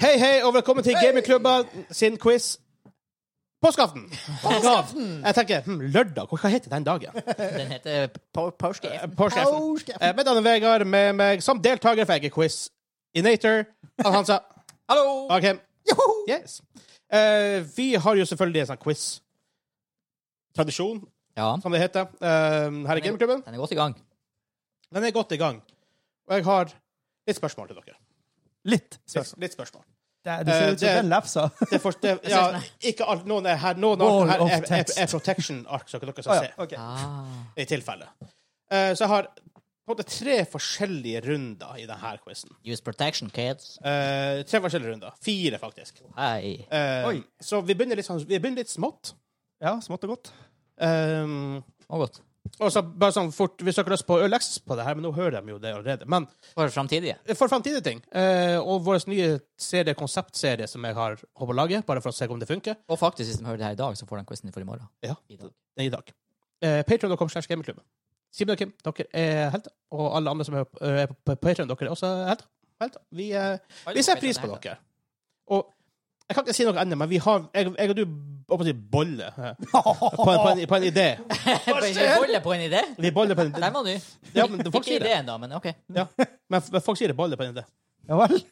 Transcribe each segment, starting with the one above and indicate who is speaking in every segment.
Speaker 1: Hei, hei, og velkommen til Gamingklubben sin quiz Påskeaften. Jeg tenker hm, lørdag. Hva heter den dagen?
Speaker 2: Den heter Po- Powerskift.
Speaker 1: Påskeaften. Eh, Mitt navn er Vegard, med meg som deltaker fikk jeg quiz. Inator. Han Hansa.
Speaker 2: Hallo!
Speaker 1: OK. Yes. Eh, vi har jo selvfølgelig en sånn quiz. Tradisjon,
Speaker 2: Ja,
Speaker 1: som det heter, eh, her i Gamingklubben.
Speaker 2: den er godt i gang.
Speaker 1: Den er godt i gang. Og jeg har litt spørsmål til dere.
Speaker 3: Litt.
Speaker 1: Litt, litt spørsmål.
Speaker 3: Det, det ser ut som
Speaker 1: Eh, det-
Speaker 3: den lefsa.
Speaker 1: Det er for, det, ja, ikke alt, noen er her, noen
Speaker 3: Wall
Speaker 1: ark her
Speaker 3: of
Speaker 1: er, er,
Speaker 3: text.
Speaker 1: er protection-ark, så dere skal
Speaker 3: Å
Speaker 1: se.
Speaker 3: ja, ok.
Speaker 2: Ah.
Speaker 1: i tilfelle. Eh, så jeg har på en måte tre forskjellige runder i denne quizen.
Speaker 2: Use protection, kids.
Speaker 1: Eh, tre forskjellige runder. Fire, faktisk.
Speaker 2: Hei.
Speaker 1: Eh,
Speaker 3: Oi.
Speaker 1: så vi begynner litt, sånn, vi begynner litt smått.
Speaker 3: Ja, smått og godt.
Speaker 1: Eh,
Speaker 2: Og godt.
Speaker 1: og så bare sånn fort Hvis dere har lyst på øl-X på det her, men nå hører de jo det allerede. Men
Speaker 2: For framtidige.
Speaker 1: for framtidige ting, eh, og vår nye serie, konseptserie som jeg har håpet å lage, bare for å se om det funker,
Speaker 2: Og faktisk, hvis de hører det her i dag, så får de quizen for i morgen.
Speaker 1: Ja.
Speaker 2: I dag.
Speaker 1: det er i dag. Eh, Patreon.com slash gamingklubben. Simen og Kim, dere er helter. Og alle andre som er på, er på Patreon, dere er også helter. helter. Vi eh, Vi setter pris på dere. Og jeg kan ikke si noe annet, men vi har Jeg, jeg og du holdt på å si bolle eh, på en, på en, på en idé.
Speaker 2: Jeg holder på en idé.
Speaker 1: Vi boller på en
Speaker 2: Den var ny.
Speaker 1: Ja, men folk
Speaker 2: Ikke
Speaker 1: sier det.
Speaker 2: ideen, da, men OK.
Speaker 1: Ja. Men, f- men folk sier det boller på en idé.
Speaker 3: Ja vel?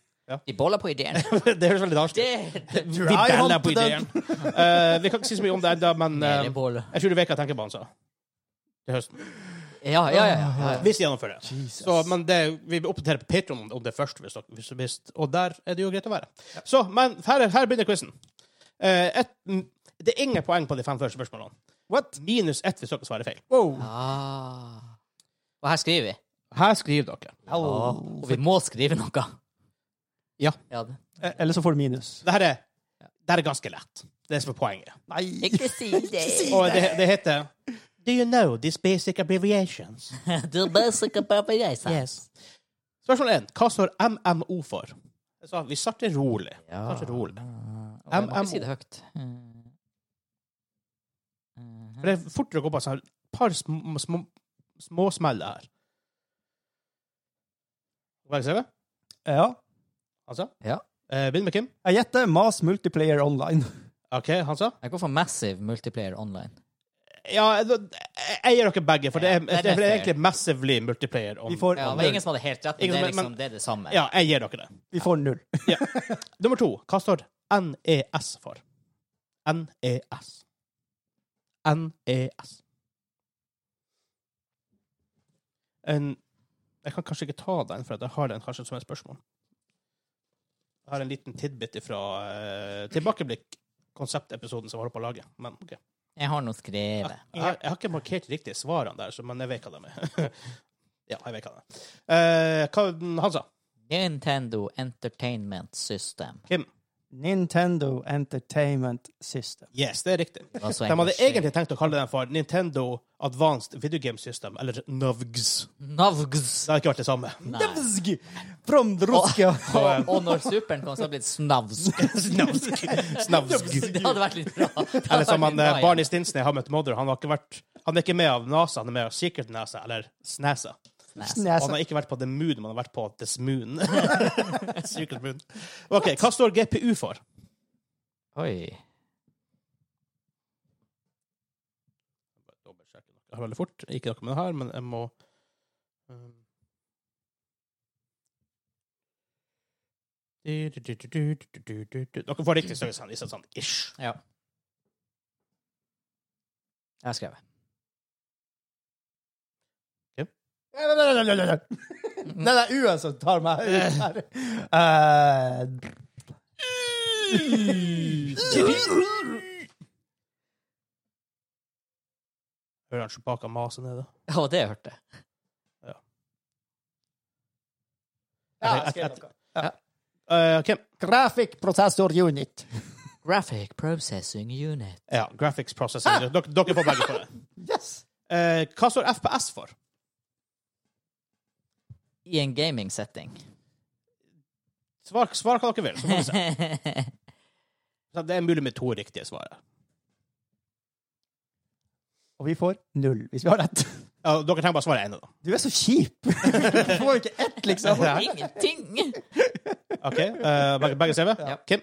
Speaker 2: De boller på ideen.
Speaker 1: Det høres veldig dansk
Speaker 2: Det
Speaker 1: ut.
Speaker 2: det-
Speaker 1: Vi baller på
Speaker 3: humped
Speaker 1: ideen. Eh, vi kan ikke si så mye om det ennå, men eh,
Speaker 2: det er boller.
Speaker 1: jeg tror du vet hva jeg tenker på, altså. han sa. Til høsten.
Speaker 2: Ja, ja, ja. ja, ja.
Speaker 1: Hvis de gjennomfører det. Så, men det, vi oppdaterer på Patreon om- om det først, hvis, dere- hvis, hvis, og der er det jo greit å være. Så, men her, er- her begynner quizen. Eh, det er ingen poeng på de fem første spørsmålene.
Speaker 3: What?
Speaker 1: Minus ett hvis dere svarer feil.
Speaker 3: Wow.
Speaker 2: Ah. Og her skriver vi.
Speaker 1: Her skriver dere.
Speaker 2: Ah.
Speaker 3: Au.
Speaker 2: Og vi må skrive noe.
Speaker 1: Ja.
Speaker 2: ja det.
Speaker 3: Eh, Eller så får du minus.
Speaker 1: Dette er, det her er ganske lett. Det er som er poenget.
Speaker 3: Nei.
Speaker 2: Ikke si det.
Speaker 1: Og det, det heter Do you know these basic abbreviations?
Speaker 2: Du er bare sikker på hva jeg sa.
Speaker 1: Yes. Spørsmål 1. Hva står MMO for? Jeg sa, vi starter rolig.
Speaker 2: Ja.
Speaker 1: Starter rolig.
Speaker 2: Og jeg må
Speaker 1: MMO.
Speaker 2: ikke si det høyt. Mm.
Speaker 1: For det er fortere å gå på et sånt par små, små, små smeller her. Hva er det jeg ser?
Speaker 3: Ja.
Speaker 1: Hansa?
Speaker 2: Ja.
Speaker 1: Eh, Begynn med Kim.
Speaker 3: Jeg gjetter Mas Multiplayer Online.
Speaker 1: OK, Hansa?
Speaker 2: Jeg går for Massive Multiplayer Online.
Speaker 1: Ja, jeg jeg gir dere begge, for det er,
Speaker 2: Ja, det er
Speaker 1: det er
Speaker 2: fair.
Speaker 1: egentlig massively multiplayer. om-
Speaker 3: Vi får,
Speaker 2: Ja, det var ingen som hadde helt rett, men
Speaker 1: Ingen
Speaker 2: det er
Speaker 1: som-
Speaker 2: liksom det, er det samme.
Speaker 1: ja, jeg gir dere det.
Speaker 3: vi får null.
Speaker 1: Nummer to. Hva står NES for? E NES. NES. En Jeg kan kanskje ikke ta den, for at jeg har den kanskje som et spørsmål. Jeg har en liten tidbit fra tilbakeblikk-konseptepisoden som jeg holder på å lage. Men ok.
Speaker 2: Jeg har nå skrevet.
Speaker 1: Jeg, har- jeg har ikke markert riktig svarene der, så, men jeg vet hva de er. ja, jeg vet hva de er. Eh, hva han sa?
Speaker 2: Nintendo Entertainment System.
Speaker 1: Kim?
Speaker 3: Nintendo Entertainment System.
Speaker 1: Yes, det er riktig.
Speaker 2: Det var så
Speaker 1: De hadde
Speaker 2: engasjert.
Speaker 1: egentlig tenkt å kalle den for Nintendo Advanced Video Game System, eller NAVGS.
Speaker 2: Navgs.
Speaker 1: Det har ikke vært det samme.
Speaker 2: Nei.
Speaker 3: Nevzg! From Drusja.
Speaker 2: Og, og når superen kom, så ble det snavs.
Speaker 1: Snavsk.
Speaker 2: Det hadde vært litt bra. Det hadde
Speaker 1: Eller som han,
Speaker 2: vært litt
Speaker 1: eh,
Speaker 2: bra, ja.
Speaker 1: Barney Stinson i How I Met Mother, han, har ikke vært, han er ikke med av NASA, han er med av Secret NASA, eller SNASA.
Speaker 2: Nei,
Speaker 1: Og han
Speaker 3: Nesa.
Speaker 1: har ikke vært på The Moon, men han har vært på This Moon. Secret Moon. Ok, hva står GPU for?
Speaker 2: Oi.
Speaker 1: dobbeltsjekke noe her veldig fort. Ikke noe med det her, men jeg må um. Dere får riktig størrelse hvis det er sånn ish.
Speaker 2: Ja. Jeg har skrevet.
Speaker 3: Nei, nei, nei, nei, nei, nei.
Speaker 1: Mm.
Speaker 3: Nei, det er U-en som tar meg ut her. Eh,
Speaker 1: Hører han Chewbacca mase nede?
Speaker 2: Ja, det jeg hørte jeg.
Speaker 3: ja, jeg skrev noe.
Speaker 1: Eh, Kim?
Speaker 3: Graphic Processor Unit.
Speaker 2: Graphic Processing Unit.
Speaker 1: Ja, Graphics
Speaker 3: Ah!
Speaker 1: Processing. Dere, dere får begge for det.
Speaker 3: Yes!
Speaker 1: Eh, hva står FPS for?
Speaker 2: I en gaming setting.
Speaker 1: Svar, svar hva dere vil. Så får vi se. Så det er mulig med to riktige svar. her.
Speaker 3: Og vi får null, hvis vi har rett.
Speaker 1: Ja, dere trenger bare svare ene, da.
Speaker 3: Du er så kjip! Du får jo ikke ett, liksom.
Speaker 2: Ingenting!
Speaker 1: OK. eh, begge, begge CV?
Speaker 2: Ja.
Speaker 1: Kim?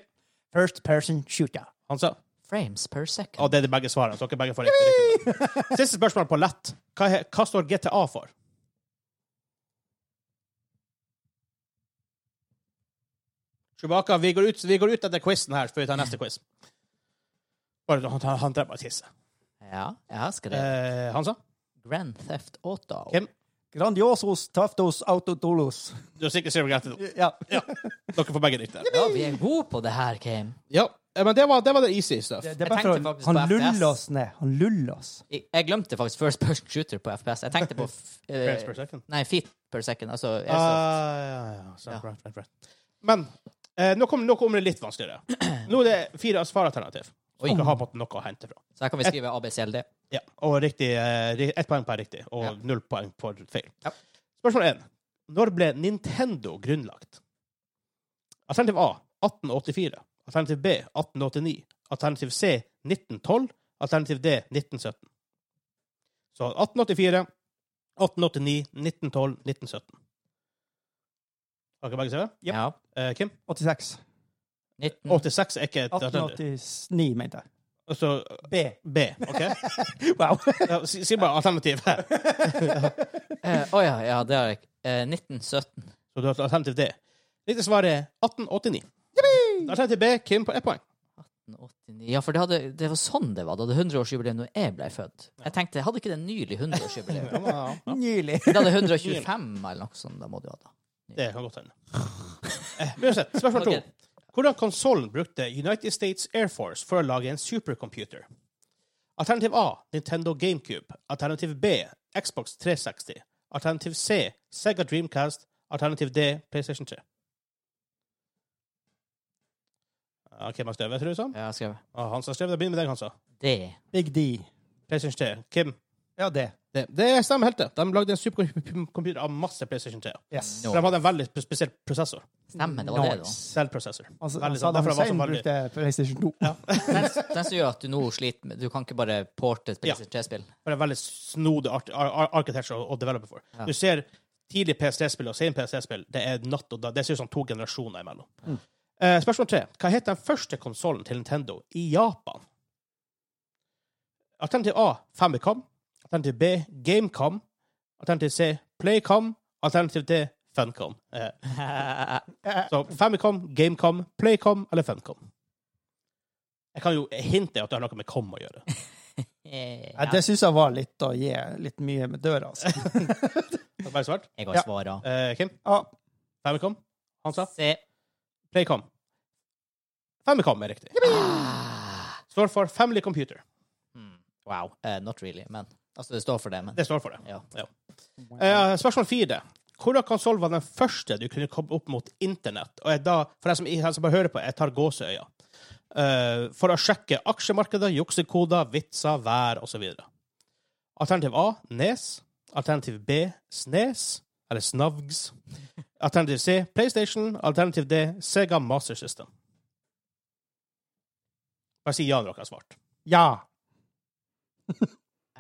Speaker 3: First person shooter.
Speaker 1: Han sa
Speaker 2: Frames per second.
Speaker 1: Og det er de begge svarene. Så dere begge får riktig. riktig. svar. Siste spørsmål på lett. Hva, he- hva står GTA for? Chewbacca, vi går ut, vi går ut etter quizen her før vi tar neste quiz. Bare, han, han, han drev bare tisse.
Speaker 2: Ja, jeg har skrevet
Speaker 1: Eh, han sa?
Speaker 2: Grand Theft Auto.
Speaker 1: Hvem?
Speaker 3: Grandiosos taftos autotolos.
Speaker 1: Du er sikkert sikkert rett.
Speaker 3: Ja.
Speaker 1: Dere får begge riktig.
Speaker 2: Ja, vi er gode på det her, Kim.
Speaker 1: Ja, eh, men det var det, var det easy stuff.
Speaker 3: Det,
Speaker 2: Jeg
Speaker 3: det er bare for,
Speaker 2: tenkte
Speaker 3: å-
Speaker 2: faktisk
Speaker 3: han
Speaker 2: på
Speaker 3: luller
Speaker 2: FPS.
Speaker 3: oss ned. Han luller oss.
Speaker 2: Jeg jeg glemte faktisk first person shooter på FPS. Jeg tenkte på f- eh,
Speaker 1: Frames per second.
Speaker 2: Nei, feet per second. Altså
Speaker 1: Ah,
Speaker 2: airsoft.
Speaker 1: ja, ja, sant, Right, right, right. Men eh, nå kommer nå kommer det litt vanskeligere. Nå er det fire svaralternativ. Så
Speaker 2: Oi.
Speaker 1: dere har på en måte noe å hente fra.
Speaker 2: Så her kan vi skrive ABCLD.
Speaker 1: Ja, og riktig, eh, ri- ett poeng per riktig, og
Speaker 2: Ja.
Speaker 1: null poeng for feil.
Speaker 2: Ja.
Speaker 1: Spørsmål én. Når ble Nintendo grunnlagt? Alternativ A 1884. Alternativ B 1889. Alternativ C 1912. Alternativ D 1917. Så 1884, 1889, 1912, 1917. Har dere begge CV?
Speaker 3: Yep.
Speaker 2: Ja.
Speaker 1: Eh, Kim?
Speaker 3: 86.
Speaker 2: 19.
Speaker 1: 86 er ikke et alternativ.
Speaker 3: 1889, mente jeg.
Speaker 1: Altså
Speaker 3: B.
Speaker 1: B, OK?
Speaker 3: Wow.
Speaker 1: Ja, si, si bare alternativ her.
Speaker 2: Eh, Å ja, ja, det har jeg. Eh, 1917.
Speaker 1: Så du har alternativ D. Riktig svar er 1889. Alternativ B, Kim på ett poeng.
Speaker 2: 1989. Ja, for det, hadde, det var sånn det var. Det hadde 100-årsjubileum da jeg ble født. Jeg tenkte, hadde ikke det nylig 100-årsjubileum?
Speaker 1: Ja.
Speaker 3: Nylig.
Speaker 2: Det hadde 125 eller noe sånt. Da må det jo ha da.
Speaker 1: Det kan godt hende. Eh, men uansett, spørsmål to.
Speaker 2: Ok.
Speaker 1: Hvordan konsollen brukte United States Air Force for å lage en supercomputer? Alternativ A, Nintendo GameCube. Alternativ B, Xbox 360. Alternativ C, Sega Dreamcast. Alternativ D, PlayStation 3. Ja, Kim har skrevet, tror du sånn?
Speaker 2: Ja, jeg skrev
Speaker 1: Ja, Hans har skrevet. Begynn med deg, Hansa.
Speaker 2: D.
Speaker 3: Big D.
Speaker 1: PlayStation 3. Kim?
Speaker 3: Ja, det.
Speaker 1: Det, det stemmer helt, det. De lagde en supercomputer av masse PlayStation 3.
Speaker 3: Yes.
Speaker 2: No.
Speaker 1: For de hadde en veldig spe- spesiell prosessor.
Speaker 2: Stemmer, det var det, da.
Speaker 3: Nice.
Speaker 1: Selvprosessor.
Speaker 3: Altså,
Speaker 1: Veldig sånn.
Speaker 3: Saddam
Speaker 1: Derfor var det
Speaker 3: Hussein
Speaker 1: så veldig-
Speaker 3: brukte PlayStation 2.
Speaker 2: Den, den som gjør at du nå sliter med Du kan ikke bare porte et
Speaker 1: Ja.
Speaker 2: PlayStation 3-spill.
Speaker 1: For en veldig snodig ar ar ar architecture å å develope for.
Speaker 2: Ja.
Speaker 1: Du ser tidlig PC-spill og sen PC-spill. Det er natt og dag. Det ser ut som to generasjoner imellom. Eh, spørsmål tre. Hva het den første konsollen til Nintendo i Japan? Alternativ A Famicom. Alternativ B Gamecom. Alternativ C Playcom. Alternativ D Funcom. Eh, Så Famicom, Gamecom, Playcom eller Funcom? Jeg kan jo hinte at det har noe med com å gjøre.
Speaker 2: Eh,
Speaker 3: Ja, det syns jeg var litt å gi litt mye med døra, altså.
Speaker 1: Har du Bare svart.
Speaker 2: Jeg
Speaker 3: Ja.
Speaker 2: har svara.
Speaker 1: Eh, Kim?
Speaker 3: Ja.
Speaker 1: Famicom? Han sa
Speaker 2: C.
Speaker 1: Playcom. Famicom er riktig.
Speaker 2: Ah.
Speaker 1: Står for Family Computer.
Speaker 2: Hmm. Wow. Eh, not really, men Altså, det står for det, men
Speaker 1: Det står for det.
Speaker 2: Ja.
Speaker 1: Eh, spørsmål fire. Hvilken konsoll var den første du kunne komme opp mot internett? Og jeg da, for deg som, jeg som bare hører på, jeg tar gåseøya. Eh, for å sjekke aksjemarkeder, juksekoder, vitser, vær osv. Alternativ A Nes. Alternativ B Snes, eller Snavgs. Alternativ C PlayStation. Alternativ D Sega Master System. Bare si ja når dere har svart.
Speaker 3: Ja.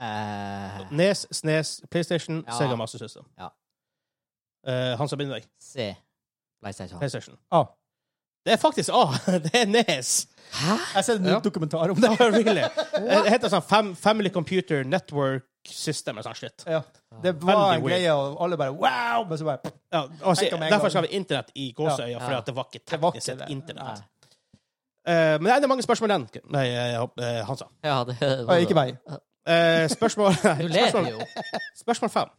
Speaker 2: Eh,
Speaker 1: Nes, Snes, PlayStation,
Speaker 2: Ja.
Speaker 1: Sega Master System.
Speaker 2: Ja.
Speaker 1: Eh, han som begynner deg.
Speaker 2: C. PlayStation.
Speaker 1: PlayStation.
Speaker 3: Ah.
Speaker 1: Det er faktisk A. Det er Nes.
Speaker 2: Hæ?
Speaker 3: Jeg ser en
Speaker 1: Ja.
Speaker 3: dokumentar om det.
Speaker 1: No, really. Det heter sånn fam, Family Computer Network System eller sånn shit.
Speaker 3: Ja. Det var en
Speaker 1: Veldig weird.
Speaker 3: greie, og alle bare wow! Men så bare
Speaker 1: Ja, og så-
Speaker 3: Tenk om en
Speaker 1: derfor
Speaker 3: gang.
Speaker 1: skal vi internett i gåseøya,
Speaker 2: Ja.
Speaker 1: for at det var ikke
Speaker 3: Det var
Speaker 1: teknisk sett
Speaker 3: ikke det.
Speaker 1: internett.
Speaker 2: Nei.
Speaker 1: Eh, men det er det mange spørsmål igjen. Nei, jeg håper- eh, Hansa.
Speaker 2: Ja, det
Speaker 3: Oi, ikke meg.
Speaker 1: Eh, spørsmål,
Speaker 2: Du ler
Speaker 1: spørsmål,
Speaker 2: jo.
Speaker 1: spørsmål fem.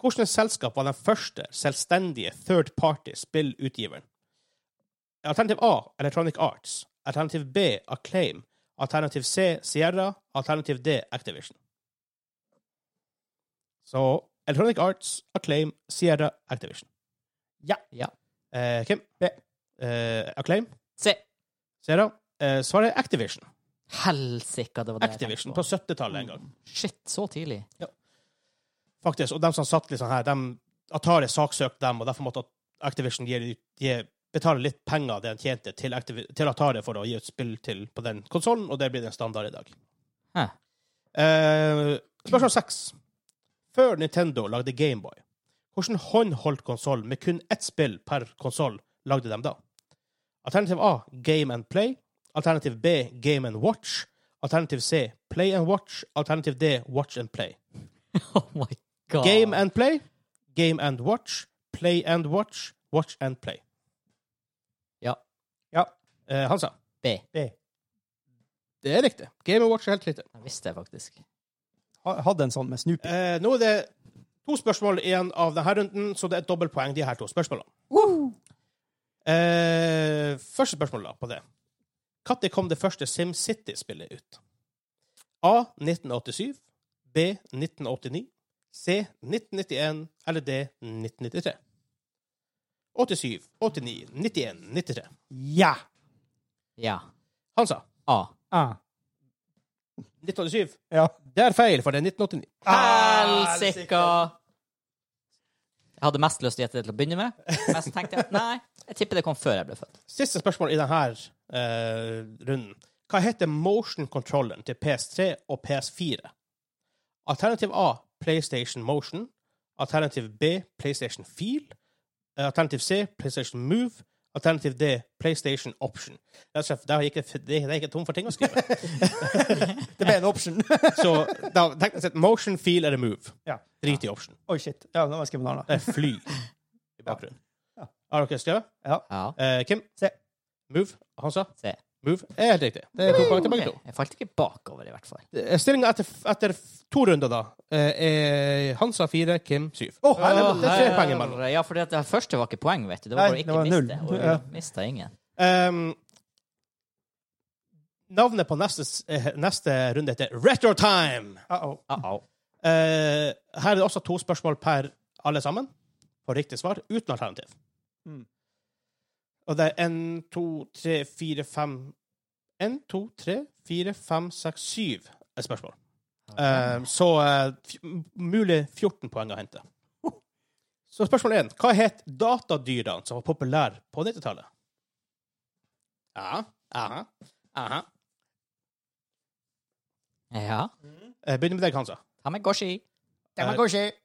Speaker 1: Hvilket selskap var den første selvstendige third party spillutgiveren? Alternativ A Electronic Arts. Alternativ B Acclaim. Alternativ C Sierra. Alternativ D Activision. Så Electronic Arts, Acclaim, Sierra, Activision.
Speaker 2: Ja.
Speaker 1: Eh, Kim?
Speaker 3: B.
Speaker 1: Eh, Acclaim?
Speaker 2: Se.
Speaker 1: Sierra? Eh, svaret er Activision.
Speaker 2: Helsike, det var det jeg
Speaker 1: Activision
Speaker 2: tenkte
Speaker 1: på 70-tallet en gang.
Speaker 2: på. Shit, så tidlig.
Speaker 1: faktisk. Og de som satt litt sånn her, de, Atari saksøkte dem, og derfor måtte Activision gi, gi, betale litt penger av det de tjente, til, Activi til Atari for å gi ut spill til på den konsollen, og det blir den standard i dag.
Speaker 2: Hæ.
Speaker 1: Eh, spørsmål seks. Før Nintendo lagde Gameboy, hvordan håndholdt konsoll med kun ett spill per konsoll lagde de da? Alternativ A Game and Play. Alternativ B Game and Watch. Alternativ C Play and Watch. Alternativ D Watch and Play.
Speaker 2: Oh my god.
Speaker 1: Game and Play. Game and Watch. Play and Watch. Watch and Play.
Speaker 2: Ja.
Speaker 1: Ja. Eh, Hansa.
Speaker 2: B.
Speaker 3: B.
Speaker 1: Det er riktig. Game and Watch er helt riktig.
Speaker 2: Jeg visste det faktisk.
Speaker 3: Ha- Hadde en sånn med Snoopy.
Speaker 1: Eh, nå er det to spørsmål igjen av denne runden, så det er et dobbeltpoeng, de her to spørsmålene. Eh, første spørsmål da, på det. Når kom det første SimCity-spillet ut? A. 1987. B. 1989. C. 1991. Eller D. 1993. 87, 89, 91, 93.
Speaker 3: Ja!
Speaker 2: Ja.
Speaker 1: Han sa
Speaker 2: A.
Speaker 3: Ah.
Speaker 1: 1987.
Speaker 3: Ja.
Speaker 1: Det er feil, for det er 1989.
Speaker 2: Ah. Helsika! Jeg hadde mest lyst til å gjette det til å begynne med, men så tenkte jeg nei, jeg tipper det kom før jeg ble født.
Speaker 1: Siste spørsmål i denne eh, runden. Hva heter motion-controlleren til PS3 og PS4? Alternativ A PlayStation Motion. Alternativ B PlayStation Feel. Eh, Alternativ C PlayStation Move. Alternativ D PlayStation Option. Rett og slett, Der gikk jeg f- det- der gikk jeg tom for ting å skrive.
Speaker 3: Det ble en option.
Speaker 1: Så da tenkte jeg sett Motion, Feel eller Move.
Speaker 3: Ja.
Speaker 1: Drit i Option.
Speaker 3: Oi, shit. Ja, nå må jeg skrive navnet.
Speaker 1: Det er fly i bakgrunnen.
Speaker 3: Ja.
Speaker 1: Har dere skrevet?
Speaker 2: Ja.
Speaker 1: Eh, Kim?
Speaker 3: Se.
Speaker 1: Move. Hansa?
Speaker 2: Se.
Speaker 1: Move er helt riktig. Det er to poeng til begge to.
Speaker 2: Ok, Jeg falt ikke bakover, i hvert fall.
Speaker 1: Stillinga Eh, etter, etter to runder, da, eh, er Hansa fire, Kim syv.
Speaker 3: Å, herre,
Speaker 1: det er tre
Speaker 2: Herre-
Speaker 1: poeng imellom.
Speaker 2: Ja, for det første var ikke poeng, vet du. Det
Speaker 3: Nei,
Speaker 2: var bare å
Speaker 3: det var
Speaker 2: ikke miste. Og
Speaker 3: null. Ja.
Speaker 2: du mista ingen.
Speaker 1: Ehm, navnet på neste, s- eh, neste runde heter Retro Time.
Speaker 3: Uh-oh.
Speaker 2: Uh -oh.
Speaker 1: Eh, her er det også to spørsmål per alle sammen på riktig svar, uten alternativ.
Speaker 3: Mm.
Speaker 1: Og det er én, to, tre, fire, fem Én, to, tre, fire, fem, seks, syv er spørsmål. Eh, så eh, f- m- mulig 14 poeng å hente. Så spørsmål én. Hva het datadyrene som var populære på 90-tallet? Ja, aha, aha.
Speaker 2: Ja.
Speaker 1: Eh, Begynner med deg, Hansa.
Speaker 2: Tamagotchi.
Speaker 3: Demagogi.
Speaker 1: Eh,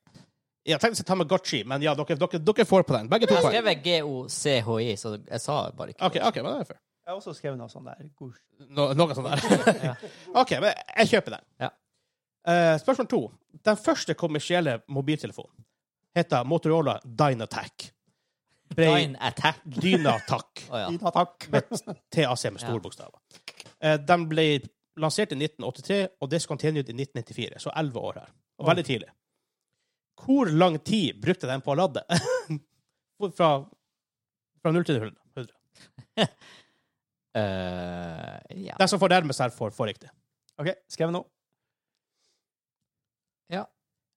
Speaker 1: Jeg tenkte å si Tamagotchi, men ja, dere, dere, dere får på den. Begge to
Speaker 2: Jeg
Speaker 1: poeng.
Speaker 2: skrev GOCHI, så jeg sa bare ikke
Speaker 1: OK, ok, men det er fair.
Speaker 3: Jeg har også skrevet noe sånt der. Gosh.
Speaker 1: No, noe sånt der.
Speaker 2: Ja.
Speaker 1: OK, men jeg kjøper den.
Speaker 2: Ja.
Speaker 1: Eh, spørsmål to. Den første kommersielle mobiltelefonen heter Motorola Dynatac. Ble
Speaker 2: Dine Attack.
Speaker 1: Dynatac
Speaker 2: Å ja.
Speaker 3: Ja, takk.
Speaker 1: med TAC med store
Speaker 2: Ja.
Speaker 1: bokstaver. Eh, den ble lansert i 1983 og discontinued i 1994, så 11 år her. Og veldig tidlig. Hvor lang tid brukte den på å lade? fra, fra 0 til 100.
Speaker 2: Eh, ja.
Speaker 1: Den som får nærmest her, får, får riktig.
Speaker 3: OK, skrev nå.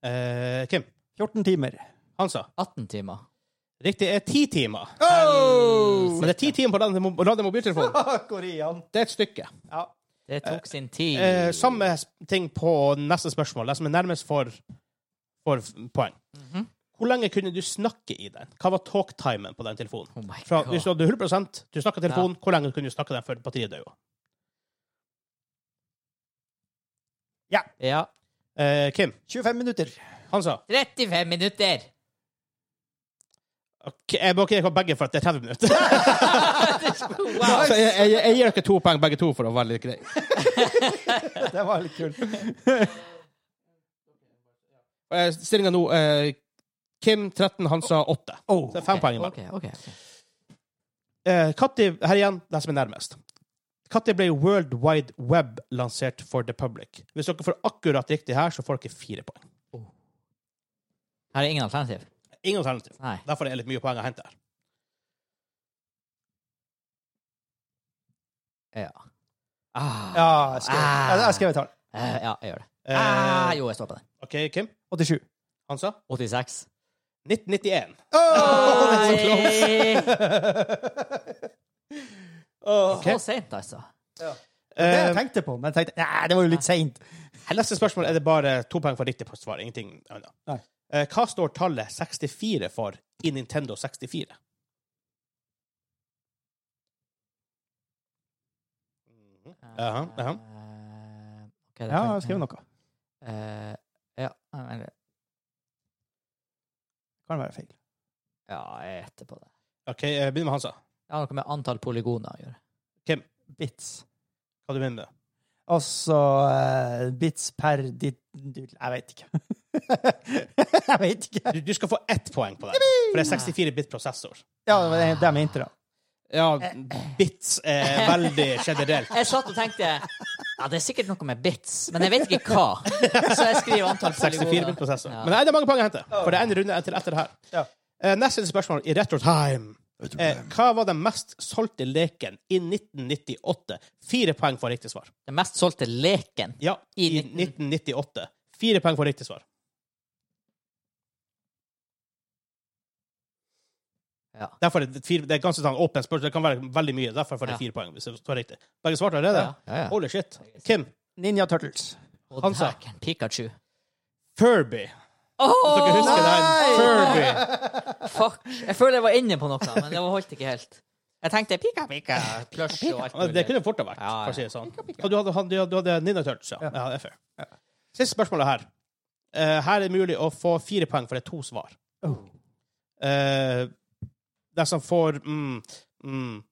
Speaker 1: Eh, Kim?
Speaker 3: 14 timer.
Speaker 1: Hansa?
Speaker 2: 18 timer.
Speaker 1: Riktig er ti timer.
Speaker 2: Oh!
Speaker 1: Men det er ti timer på å lade- å lade mobiltelefonen.
Speaker 3: Korean.
Speaker 1: Det er et stykke.
Speaker 3: Ja.
Speaker 2: Det tok sin tid.
Speaker 1: Eh, samme ting på neste spørsmål. Den som er nærmest for, for poeng.
Speaker 2: Mhm.
Speaker 1: Hvor lenge kunne du snakke i den? Hva var talktimen på den telefonen?
Speaker 2: Oh my
Speaker 1: Fra,
Speaker 2: God.
Speaker 1: hvis du hadde 100 du snakka telefonen, hvor lenge kunne du snakke den før batteriet døde?
Speaker 2: Ja.
Speaker 1: Eh, Kim,
Speaker 3: 25 minutter.
Speaker 1: han sa
Speaker 2: 35 minutter!
Speaker 1: Ok, Jeg må ikke gi dere begge for at det er 30 minutter.
Speaker 2: Wow.
Speaker 1: Så jeg, jeg, jeg gir dere to poeng begge to for å være litt grei.
Speaker 3: Det var litt kult.
Speaker 1: Stillinga nå eh, Kim 13, Hansa 8.
Speaker 3: Oh.
Speaker 1: Så det er fem poeng imellom.
Speaker 2: Ok, ok, ok.
Speaker 1: Eh, Katti, her igjen, den som er nærmest. Katti ble World Wide Web lansert for the public. Hvis dere får akkurat riktig her, så får dere fire poeng.
Speaker 2: Her er ingen alternativ.
Speaker 1: Ingen alternativ.
Speaker 2: Nei.
Speaker 1: Derfor er det litt mye poeng å hente her.
Speaker 2: Ja. Ah.
Speaker 3: Ja, jeg skrev,
Speaker 2: Ah.
Speaker 3: ja, jeg skrev et tall.
Speaker 2: Eh, ja, jeg gjør det. ah,
Speaker 1: Eh,
Speaker 2: jo, jeg står på den.
Speaker 1: OK, Kim?
Speaker 3: 87.
Speaker 1: Hansa?
Speaker 2: 86.
Speaker 1: 1991.
Speaker 2: Nei!
Speaker 3: Åh.
Speaker 2: Så sent, altså.
Speaker 3: Det jeg
Speaker 1: Eh,
Speaker 3: tenkte på, men jeg tenkte Nei, det var jo litt seint.
Speaker 1: neste spørsmål er det bare to poeng for riktig på svar. Ingenting annet.
Speaker 3: Nei.
Speaker 1: Eh, hva står tallet 64 for i Nintendo 64? Mhm. Jaha, jaha.
Speaker 2: Eh, ok, det
Speaker 3: Ja,
Speaker 2: kan-
Speaker 3: jeg skrev noe.
Speaker 2: Eh, ja, men-
Speaker 3: Kan være feil.
Speaker 2: ja, jeg gjetter på det.
Speaker 1: OK, eh, begynn med Hansa.
Speaker 2: Det har noe med antall polygoner å gjøre.
Speaker 3: Bits.
Speaker 1: Hva du mener med det?
Speaker 3: Altså eh, bits per dit, dit Jeg vet ikke. jeg vet ikke.
Speaker 1: Du, du skal få ett poeng på det, for det er 64 bit prosessor.
Speaker 3: Ja, det var det det jeg mente, da.
Speaker 1: Ja, bits er veldig generelt.
Speaker 2: Jeg satt og tenkte ja, det er sikkert noe med bits, men jeg vet ikke hva. Så jeg skriver antall
Speaker 1: 64 bit
Speaker 2: polygoner.
Speaker 1: prosessor.
Speaker 2: Ja.
Speaker 1: Men nei, det er mange poeng å hente, for det er en runde til etter det her.
Speaker 3: Ja.
Speaker 1: Eh, Neste spørsmål i retro time. Eh, hva var den mest solgte leken i 1998? Fire poeng for riktig svar.
Speaker 2: Den mest solgte leken.
Speaker 1: Ja,
Speaker 2: I
Speaker 1: i
Speaker 2: 19.
Speaker 1: 1998. Fire poeng for riktig svar.
Speaker 2: Ja.
Speaker 1: Derfor er det, fire, det er ganske sånn åpent spørsmål. Det kan være veldig mye. Derfor får det
Speaker 2: Ja.
Speaker 1: fire poeng. hvis det står riktig. Begge svarte allerede?
Speaker 2: Ja, ja, ja.
Speaker 1: Holy shit. Kim,
Speaker 3: Ninja Turtles.
Speaker 2: Og
Speaker 1: Han sa-
Speaker 2: dæken, Pikachu.
Speaker 1: Furby.
Speaker 2: Åh,
Speaker 1: Dere husker den? Furby.
Speaker 2: fuck! Jeg føler jeg var inne på noe, men det holdt ikke helt. Jeg tenkte pika, pika, plush og alt
Speaker 1: Det
Speaker 2: mulig.
Speaker 1: kunne fort ha vært,
Speaker 2: Ja, ja.
Speaker 1: for å si det sånn. Og du hadde, hadde, du hadde Ninja Turtles, ja. ja. det er fair. Siste spørsmålet her. Eh, her er det mulig å få fire poeng, for det er to svar.
Speaker 3: Oh.
Speaker 1: Eh, den som får mm, mm,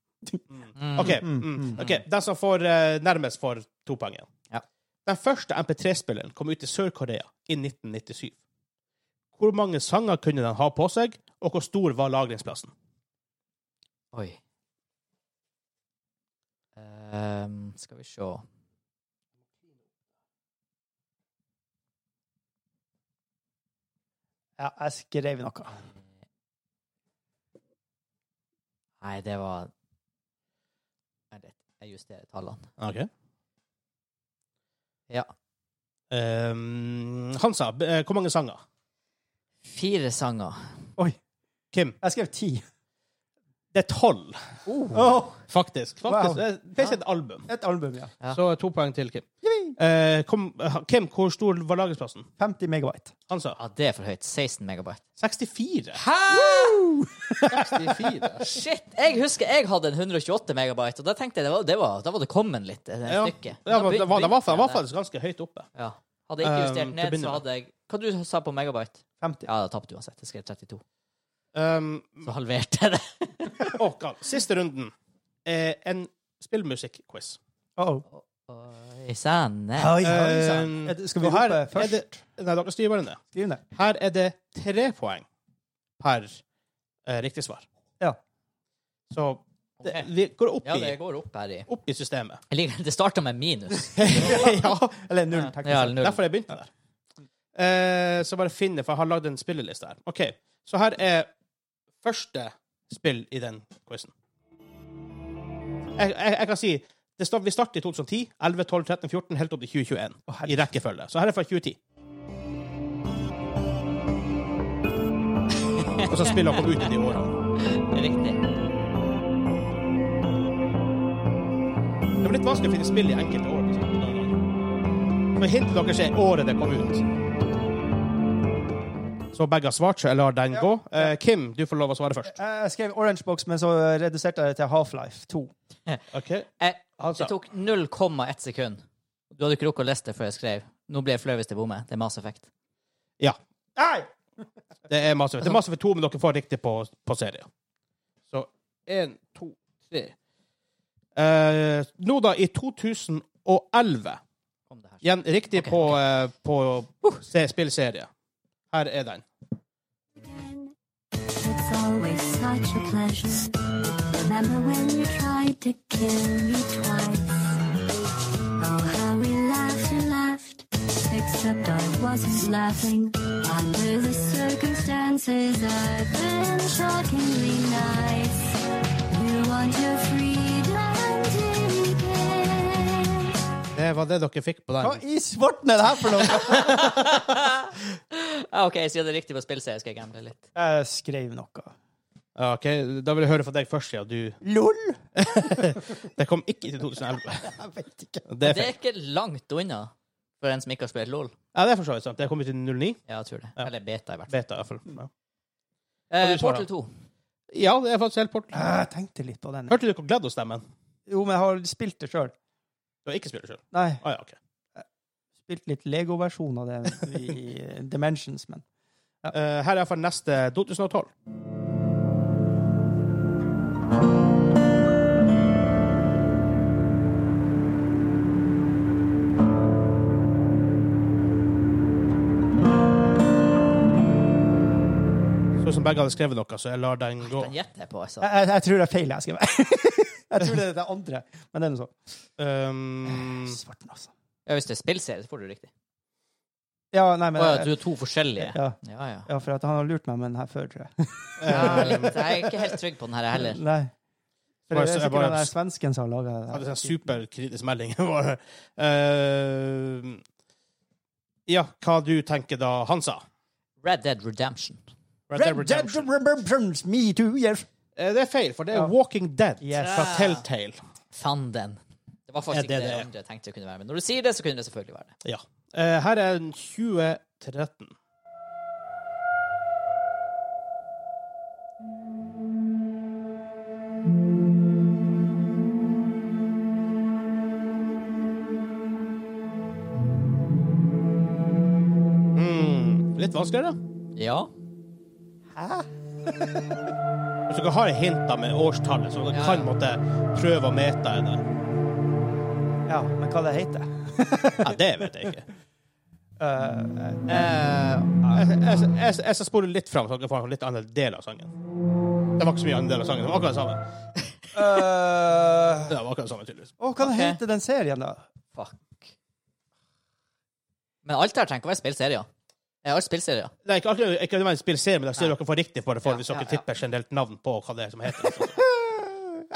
Speaker 1: mm. OK. Mm, ok. Den som får eh, nærmest, får to poeng igjen.
Speaker 2: Ja.
Speaker 1: Den første MP3-spilleren kom ut i Sør-Korea i 1997. Hvor mange sanger kunne den ha på seg, og hvor stor var lagringsplassen?
Speaker 2: Oi. Ehm, skal vi se
Speaker 3: Ja, jeg skrev noe.
Speaker 2: Nei, det var Vent litt, Jeg justerer tallene. Ja.
Speaker 1: Um, Hansa, b- eh, hvor mange sanger?
Speaker 2: Fire sanger.
Speaker 3: Oi.
Speaker 1: Kim?
Speaker 3: Jeg skrev ti.
Speaker 1: Det er tolv,
Speaker 3: Åh,
Speaker 1: faktisk.
Speaker 3: Wow.
Speaker 1: faktisk. Det er- Det er ikke et album.
Speaker 3: et album, ja.
Speaker 2: Ja.
Speaker 1: Så to poeng til Kim. Eh, kom, Kim, hvor stor var lagringsplassen?
Speaker 3: 50 megabyte.
Speaker 1: Hansa?
Speaker 2: Ja, det er for høyt. 16 megabyte.
Speaker 1: 64.
Speaker 2: Hæ?!
Speaker 1: 64.
Speaker 2: Shit! Jeg husker jeg hadde en 128 megabyte, og da tenkte jeg det var, det var, da var det kommet litt. Det
Speaker 1: Ja,
Speaker 2: stykket.
Speaker 1: ja
Speaker 2: Da
Speaker 1: men det
Speaker 2: begynte-
Speaker 1: var, det var, det var
Speaker 2: begynte jeg
Speaker 1: faktisk ganske høyt oppe.
Speaker 2: der. ja. Hadde jeg ikke
Speaker 1: Um,
Speaker 2: justert
Speaker 1: til å
Speaker 2: ned,
Speaker 1: begynne
Speaker 2: så
Speaker 1: med.
Speaker 2: hadde jeg Hva du sa på megabyte?
Speaker 3: 50.
Speaker 2: Ja, da tapte du uansett. Jeg skrev 32.
Speaker 1: Um,
Speaker 2: Så halverte jeg det.
Speaker 1: og Karl, siste runden er en spillmusikk-quiz.
Speaker 3: Uh -oh.
Speaker 2: Oi sann. nei.
Speaker 3: Oi, sånn.
Speaker 1: Eh,
Speaker 3: Er det- Skal vi
Speaker 1: og her
Speaker 3: rope
Speaker 1: er det-
Speaker 3: først?
Speaker 1: Nei, dere styrer bare ned.
Speaker 3: Skriv det.
Speaker 1: Her er det tre poeng per eh, riktig svar.
Speaker 3: Ja.
Speaker 1: Så det, vi går opp,
Speaker 2: Ja, det
Speaker 1: i,
Speaker 2: går opp her i
Speaker 1: opp i systemet.
Speaker 2: Jeg liker- Det starta med minus.
Speaker 1: ja,
Speaker 3: Eller null, teknisk.
Speaker 2: Ja, eller null.
Speaker 1: derfor jeg begynte der. Eh, så bare finne, for jeg har lagd en spilleliste her. OK, så her er første spill i den quizen. Jeg, jeg, jeg kan si det start, Vi starter i 2010. 11, 12, 13, 14, helt opp til 2021. I rekkefølge. Så her er fra 2010. Og så spillene kom ut i de årene.
Speaker 2: Riktig.
Speaker 1: Det var litt vanskelig å finne spill i enkelte år. liksom. Så hintet deres er året det kom ut. Så begge har svart, så jeg lar den gå. Eh, Kim, du får lov å svare først.
Speaker 3: Eh, Jeg skrev Orange Box, men så reduserte jeg det til Half-Life 2.
Speaker 1: Okay.
Speaker 2: Jeg,
Speaker 1: Altså.
Speaker 2: det tok 0,1 sekund. Du hadde ikke rukket å lese det før jeg skrev. Nå ble jeg flau hvis jeg bommer. Det er Mass Effect.
Speaker 1: Ja.
Speaker 3: Nei!
Speaker 1: Det er masse, det er masse for to, men dere får riktig på, på serie. Så én, to, tre eh, Nå, da, i 2011
Speaker 2: Kom det her.
Speaker 1: Igjen riktig
Speaker 2: Ok,
Speaker 1: på, eh, på se, spillserie. Her er den.
Speaker 4: It's always such a pleasure. Remember when you tried to kill me twice? Oh, how we laughed and laughed. Except I wasn't laughing. Under the circumstances, I've been shockingly nice. You want your freedom to begin.
Speaker 1: Det var det dere fikk på
Speaker 3: Hva
Speaker 1: den.
Speaker 3: i svarten er det her for noe?
Speaker 2: Ja, OK, siden det er riktig på spillserie, skal jeg gamble litt.
Speaker 3: Jeg skrev noe.
Speaker 1: Ja, ok, Da vil jeg høre fra deg først, siden du
Speaker 3: LOL?
Speaker 1: Det kom ikke til 2011.
Speaker 3: Jeg vet ikke.
Speaker 1: Det er
Speaker 2: Det er
Speaker 1: feil.
Speaker 2: ikke langt unna for en som ikke har spilt LOL.
Speaker 1: Ja, det er for så vidt sant. Det kom ut i 09.
Speaker 2: Ja, jeg tror det. Eller beta, i hvert fall.
Speaker 1: Beta, i hvert fall. Ja.
Speaker 2: Eh,
Speaker 1: du svare?
Speaker 2: Portal 2.
Speaker 1: Ja, det er faktisk helt port.
Speaker 3: Ah, Jeg tenkte litt på den.
Speaker 1: Hørte du dere gledde oss stemmen?
Speaker 3: Jo, men jeg har spilt det sjøl.
Speaker 1: Du har ikke spilt det sjøl?
Speaker 3: Nei,
Speaker 1: Ah, ja, ok.
Speaker 3: spilt litt Lego-versjon av det i Dimensions, men
Speaker 1: Eh, her er iallfall neste 2012. begge hadde skrevet noe, så jeg lar den gå.
Speaker 2: Kan gjette på, altså.
Speaker 3: Jeg, jeg, jeg tror det er feil jeg skriver. jeg tror det er det andre, men det er noe sånt.
Speaker 2: Mm.
Speaker 1: Um,
Speaker 3: Svarten, altså.
Speaker 2: Ja, hvis det er spillserie, så får du riktig.
Speaker 3: Ja, nei,
Speaker 2: Å
Speaker 3: men... eh,
Speaker 2: ja, du er to forskjellige.
Speaker 3: ja,
Speaker 2: Ja, ja.
Speaker 3: ja, for at han har lurt meg med den her før, tror jeg.
Speaker 2: ja litt. Jeg er ikke helt trygg på den her heller.
Speaker 3: Nei. For
Speaker 1: Bare
Speaker 3: det
Speaker 1: så-
Speaker 3: er
Speaker 1: jeg
Speaker 3: sikkert
Speaker 1: bare-
Speaker 3: den der svensken som har laget det.
Speaker 1: hadde
Speaker 3: her.
Speaker 1: en sånn superkritisk melding. Bare, eh, ja, hva du tenker da han sa?
Speaker 2: Red Dead Redemption.
Speaker 1: Red Dead
Speaker 3: Red Dead
Speaker 1: Redemption.
Speaker 3: Redemption, me too, yes.
Speaker 1: Eh, Det er feil, for det er
Speaker 3: Ja.
Speaker 1: Walking Dead
Speaker 3: Yes.
Speaker 1: fra Telltale.
Speaker 2: Fanden. Det var faktisk
Speaker 1: Ja, det
Speaker 2: ikke det,
Speaker 1: er det.
Speaker 2: andre jeg tenkte det kunne være. Men når du sier det, så kunne det selvfølgelig være det.
Speaker 1: Ja. Eh, her er en 2013. Mm, litt vanskeligere.
Speaker 2: Ja.
Speaker 1: Hvis dere har hinter med årstallet, så dere
Speaker 2: Ja,
Speaker 1: kan
Speaker 2: ja.
Speaker 1: måtte prøve å mete det.
Speaker 3: Ja, men hva det heter?
Speaker 1: Nei, det vet jeg ikke.
Speaker 3: Eh,
Speaker 1: Jeg, jeg, jeg, jeg skal spole litt fram, så dere får en litt annen del av sangen. Det var ikke så mye annen del av sangen. Det var akkurat det samme.
Speaker 3: eh,
Speaker 1: Det var akkurat det samme, tydeligvis.
Speaker 3: Å, hva det
Speaker 2: Ok.
Speaker 3: heter den serien, da?
Speaker 2: Fuck. Men alt her trenger ikke å være spillserier. Det er alt spillserier.
Speaker 1: Det er ikke alltid ikke nødvendigvis spillserie, men det ser
Speaker 2: Nei.
Speaker 1: dere får riktig for det for
Speaker 2: Ja,
Speaker 1: hvis dere
Speaker 2: ja, ja.
Speaker 1: tipper generelt navn på hva det er som heter. Altså.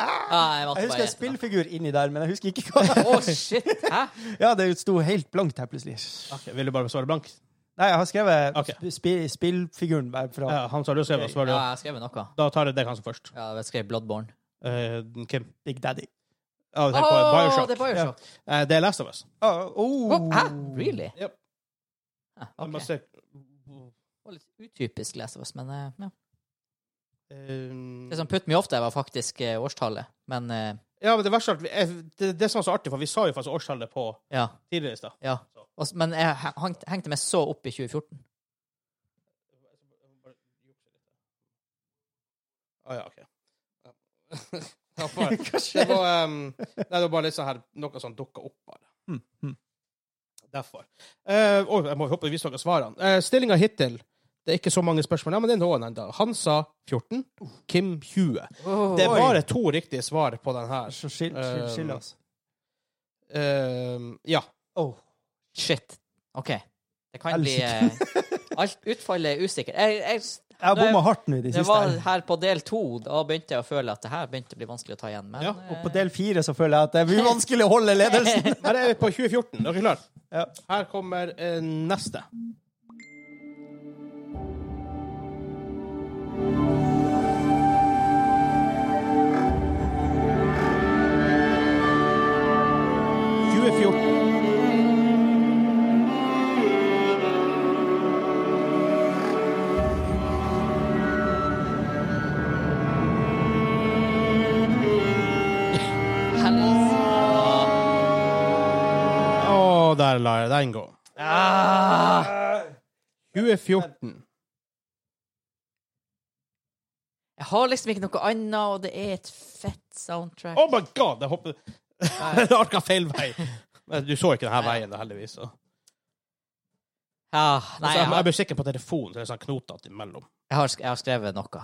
Speaker 2: Ah, jeg, måtte
Speaker 3: Jeg
Speaker 2: bare
Speaker 3: husker en
Speaker 2: gjette da.
Speaker 3: spillfigur inni der, men jeg husker ikke hva.
Speaker 2: Å, shit! Hæ?
Speaker 3: Ja, det sto helt blankt her plutselig.
Speaker 1: Ok, vil du bare svare blankt?
Speaker 3: Nei, jeg har skrevet
Speaker 1: Ok.
Speaker 3: sp spi- spillfiguren bare fra
Speaker 1: Ja, han sa Eh, du skrev, og så var det
Speaker 2: Ja,
Speaker 1: jo-
Speaker 2: jeg skrev noe.
Speaker 1: Da tar jeg deg kanskje først.
Speaker 2: Ja, jeg skrev Bloodborne.
Speaker 1: Eh, Kim.
Speaker 3: Big Daddy.
Speaker 1: Ja, du
Speaker 2: Å,
Speaker 1: tenker på Bioshock.
Speaker 2: det er Bioshock.
Speaker 1: Eh, det er Last of Us.
Speaker 3: Å,
Speaker 2: Å,
Speaker 3: oh.
Speaker 2: Hæ? Really?
Speaker 1: Yep.
Speaker 2: Ah,
Speaker 1: Jeg må
Speaker 2: ok.
Speaker 1: se-
Speaker 2: Det var litt utypisk Last of Us, men eh, ja.
Speaker 1: Mm. Eh,
Speaker 2: Det som putt me off der, var faktisk eh, årstallet. Men eh,
Speaker 1: Ja, men det verste er at vi, jeg- det, det som var så artig, for vi sa jo faktisk årstallet på
Speaker 2: ja.
Speaker 1: tidligere i stad.
Speaker 2: ja. Og s- men jeg he- hang- hengte meg så opp i 2014.
Speaker 1: Å Ah, ja, OK. Ja. Det var bare- det var, ehm, nei, det var bare litt sånn her Noe som dukka opp, bare.
Speaker 3: Mm, mm.
Speaker 1: Derfor. Eh, oi, jeg må håpe vi snakker svarene. Uh, Stillinga hittil Det er ikke så mange spørsmål, ja, men det er noen enda. Han sa 14, Kim 20. Det er
Speaker 3: Oi.
Speaker 1: bare to riktige svar på den her.
Speaker 3: Så skill, skill,
Speaker 1: Eh,
Speaker 3: skill oss.
Speaker 1: Ehm, ja.
Speaker 3: Oh.
Speaker 2: Shit. OK. Det kan
Speaker 3: Jeg
Speaker 2: bli eh, alt, Utfallet er usikkert. Jeg, jeg,
Speaker 3: Jeg har
Speaker 2: Nei,
Speaker 3: bomma hardt nå i de
Speaker 2: det
Speaker 3: siste.
Speaker 2: var
Speaker 3: her.
Speaker 2: her på del to. Da begynte jeg å føle at det her begynte å bli vanskelig å ta igjen. Men
Speaker 1: Ja,
Speaker 3: Og på del fire så føler jeg at det blir vanskelig å holde ledelsen.
Speaker 1: Her er vi på 2014. Dere er klare?
Speaker 3: Ja.
Speaker 1: Her kommer eh, neste.
Speaker 2: Helse.
Speaker 1: Å, der la jeg den gå.
Speaker 2: Ah!
Speaker 1: 2014.
Speaker 2: Jeg har liksom ikke noe annet, og det er et fett soundtrack.
Speaker 1: Oh my god! Jeg hopper Det arka feil vei. Men du så ikke denne
Speaker 2: Nei.
Speaker 1: veien, da, heldigvis. Så.
Speaker 2: Ja, nei,
Speaker 3: Altså,
Speaker 1: Så
Speaker 2: jeg
Speaker 1: jeg, jeg
Speaker 2: har,
Speaker 1: ble sikker på telefonen, så det er sånn knotete imellom.
Speaker 2: jeg, har, sk- jeg har skrevet noe.
Speaker 1: Kan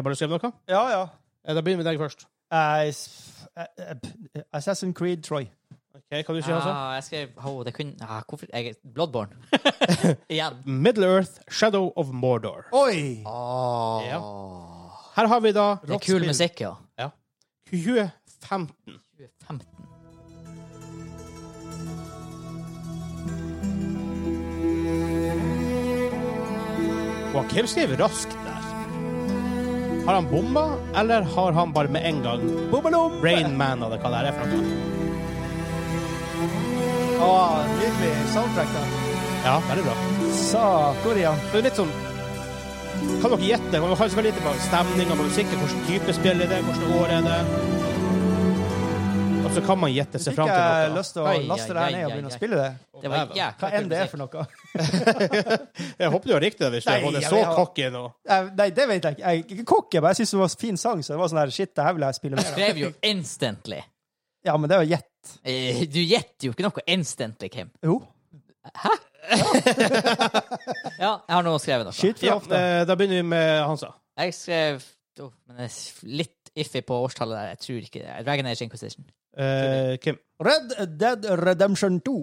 Speaker 1: jeg bare skrive noe?
Speaker 3: Ja, ja.
Speaker 1: Eh, Da begynner vi med deg først.
Speaker 3: Eh, s- eh, eh, Assassin's Creed Troy.
Speaker 1: Ok, Kan du si altså?
Speaker 2: Ah, jeg skrev oh, det kunne, ah, hvorfor, jeg, Bloodborne. Igjen.
Speaker 1: Middle Earth, Shadow of Mordor.
Speaker 3: Oi!
Speaker 1: Ja. Her har vi da
Speaker 2: Ah. Det er kul musikk, ja.
Speaker 1: Ja. 2015.
Speaker 2: 2015.
Speaker 1: Og Kim skriver raskt der. Har han bomma, eller har han bare med en gang
Speaker 3: Bommelom!
Speaker 1: Rainman eller hva det er for noe?
Speaker 3: Å, nydelig soundtrack, da.
Speaker 1: Ja, veldig bra.
Speaker 3: Sa Korea.
Speaker 1: Det er litt sånn Kan dere gjette? Kan dere ha så veldig lite på stemninga på musikken? Hvilken type spill er det? Hvilket år er det? Og så kan man gjette
Speaker 3: Fikk
Speaker 1: seg fram til
Speaker 3: jeg
Speaker 1: noe.
Speaker 3: lyst til å
Speaker 2: Oi,
Speaker 3: laste det
Speaker 2: ai,
Speaker 3: her ned
Speaker 2: ai,
Speaker 3: og begynne
Speaker 2: ai,
Speaker 3: å spille det?
Speaker 2: Det var jækla
Speaker 3: Hva
Speaker 2: kul
Speaker 3: enn det er
Speaker 2: musikk.
Speaker 3: for noe.
Speaker 1: Jeg håper du har riktig det, hvis du
Speaker 3: Nei,
Speaker 1: har gått
Speaker 3: jeg
Speaker 1: så
Speaker 3: vil ha-
Speaker 1: cocky nå.
Speaker 3: Eh, Nei, det vet jeg ikke. Jeg er ikke kokke, men jeg syns det var en fin sang, så det var sånn her Shit, det her vil jeg spille mer av.
Speaker 2: Skrev jo instantly.
Speaker 3: Ja, men det er jo gjett.
Speaker 2: Eh, Du gjetter jo ikke noe instantly, Kim.
Speaker 3: Jo.
Speaker 2: Ja, jeg har nå skrevet noe.
Speaker 3: Skyt fra
Speaker 1: Ja,
Speaker 3: hofta.
Speaker 1: eh, da begynner vi med Hansa.
Speaker 2: Jeg skrev oh, Men jeg er litt iffy på årstallet der. Jeg tror ikke det. Dragon Age Inquisition.
Speaker 1: Eh, Kim.
Speaker 3: Red Dead Redemption 2.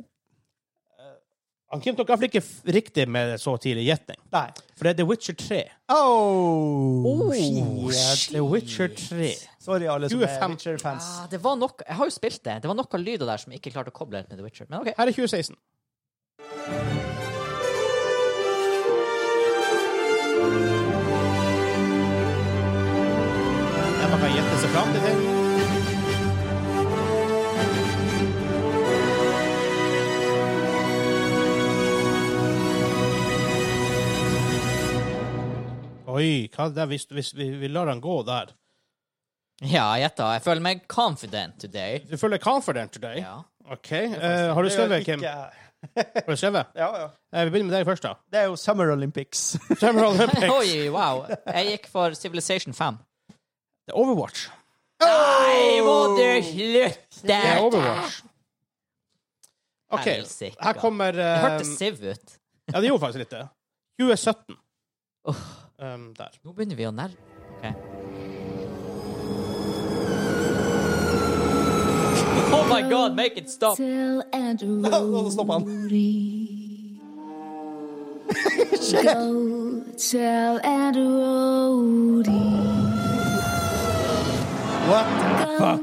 Speaker 1: Han Kim tok iallfall ikke f- riktig med så tidlig gjetning.
Speaker 3: Nei.
Speaker 1: For det er The Witcher 3.
Speaker 3: Oh, shit.
Speaker 1: The Witcher 3.
Speaker 3: Sorry, alle som
Speaker 1: Du er
Speaker 3: er
Speaker 1: fem.
Speaker 3: Witcher-fans.
Speaker 2: Ah, det var nok, jeg har jo spilt det. Det var noen lyder der som jeg ikke klarte å koble helt med The Witcher. Men OK.
Speaker 1: Her er 2016. Ja, man kan gjette seg fram til ting. Oi, hva er det hvis, hvis vi, vi lar han gå der?
Speaker 2: Ja, jeg gjetta. Jeg føler meg confident today.
Speaker 1: Du føler confident today?
Speaker 2: Ja.
Speaker 1: OK. eh, har du skrevet, Kim?
Speaker 3: Ja,
Speaker 1: Har du skrevet?
Speaker 3: ja.
Speaker 1: Eh, vi begynner med deg først, da.
Speaker 3: Det er jo Summer Olympics.
Speaker 1: Summer Olympics.
Speaker 2: Oi, wow. Jeg gikk for Civilization 5.
Speaker 1: Det er Overwatch.
Speaker 2: Nei, må du slutte!
Speaker 1: Det er Overwatch. OK,
Speaker 2: Helsike.
Speaker 1: her kommer
Speaker 2: Det
Speaker 1: eh,
Speaker 2: hørtes siv ut.
Speaker 1: Ja, det gjorde faktisk litt det. 2017.
Speaker 2: Åh,
Speaker 1: Um, der.
Speaker 2: nå begynner vi å nærme Ok. Oh my god, make it stop!
Speaker 4: Still and
Speaker 3: Nå stopper han.
Speaker 4: Rory. Go tell and Rory.
Speaker 3: What?
Speaker 4: Go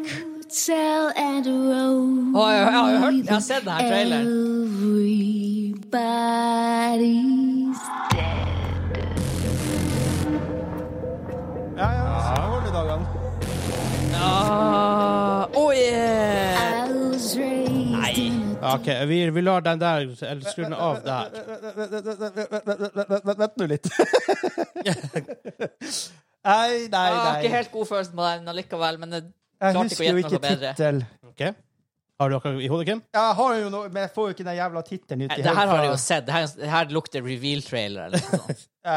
Speaker 4: tell and Rory.
Speaker 2: Åh, jeg, jeg, har jo hørt, jeg har sett denne traileren.
Speaker 4: Everybody's
Speaker 3: Ja, ja, så går det i dagene.
Speaker 2: Ah, oh yeah!
Speaker 4: I was raised in a
Speaker 1: OK, vi, vi lar den der eller skru den av der.
Speaker 3: Vent- Vent nå litt. Nei,
Speaker 2: Jeg
Speaker 3: nei,
Speaker 2: har Ah, ikke
Speaker 3: nei.
Speaker 2: helt god følelse på den allikevel, men jeg klarte
Speaker 3: Jeg
Speaker 2: ikke å
Speaker 3: husker jo
Speaker 2: gjette noe
Speaker 3: ikke
Speaker 2: bedre.
Speaker 3: tittel.
Speaker 1: OK? Har du akkurat i hodet, Kim?
Speaker 3: Jeg har jo noe, men jeg får jo ikke den jævla tittelen ut i
Speaker 2: Det her har jeg jo
Speaker 3: hodet.
Speaker 2: sett. Det her, det her lukter reveal-trailer eller noe sånt.
Speaker 3: Eh,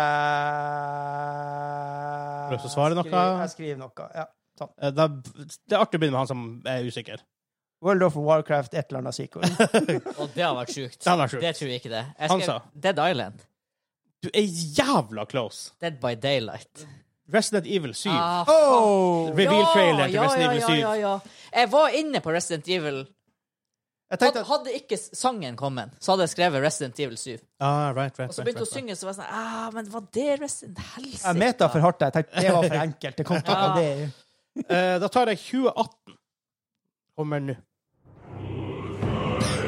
Speaker 1: Har du lyst til å svare noe?
Speaker 3: skriv- Jeg skriver noe, ja. Sånn.
Speaker 1: Eh, Da, det er artig å begynne med han som er usikker.
Speaker 3: World of Warcraft, et eller annet sequel.
Speaker 2: Og det har vært sjukt.
Speaker 1: Den er sjukt.
Speaker 2: Det tror jeg ikke det. Jeg
Speaker 1: Han
Speaker 2: skrev
Speaker 1: sa.
Speaker 2: Dead Island.
Speaker 1: Du er jævla close!
Speaker 2: Dead by Daylight.
Speaker 1: Resident Evil 7.
Speaker 2: Ah, faen.
Speaker 3: Oh!
Speaker 1: Reveal-trailer til Resident Evil 7.
Speaker 2: Ja, ja, ja, ja. Jeg var inne på Resident Evil.
Speaker 3: Jeg
Speaker 2: Hadde,
Speaker 3: tenkte at
Speaker 2: hadde ikke sangen kommet, så hadde jeg skrevet Resident Evil 7.
Speaker 1: Ah, right, right,
Speaker 2: Og så
Speaker 1: right,
Speaker 2: begynte hun
Speaker 1: right,
Speaker 2: å synge, så var jeg sånn ah, Men var det Resident Helsike?
Speaker 3: jeg meta for hardt. Jeg tenkte det var for enkelt. Det kom ikke
Speaker 2: Ja.
Speaker 3: av det.
Speaker 1: right. Eh, da tar jeg 2018. Kommer nå.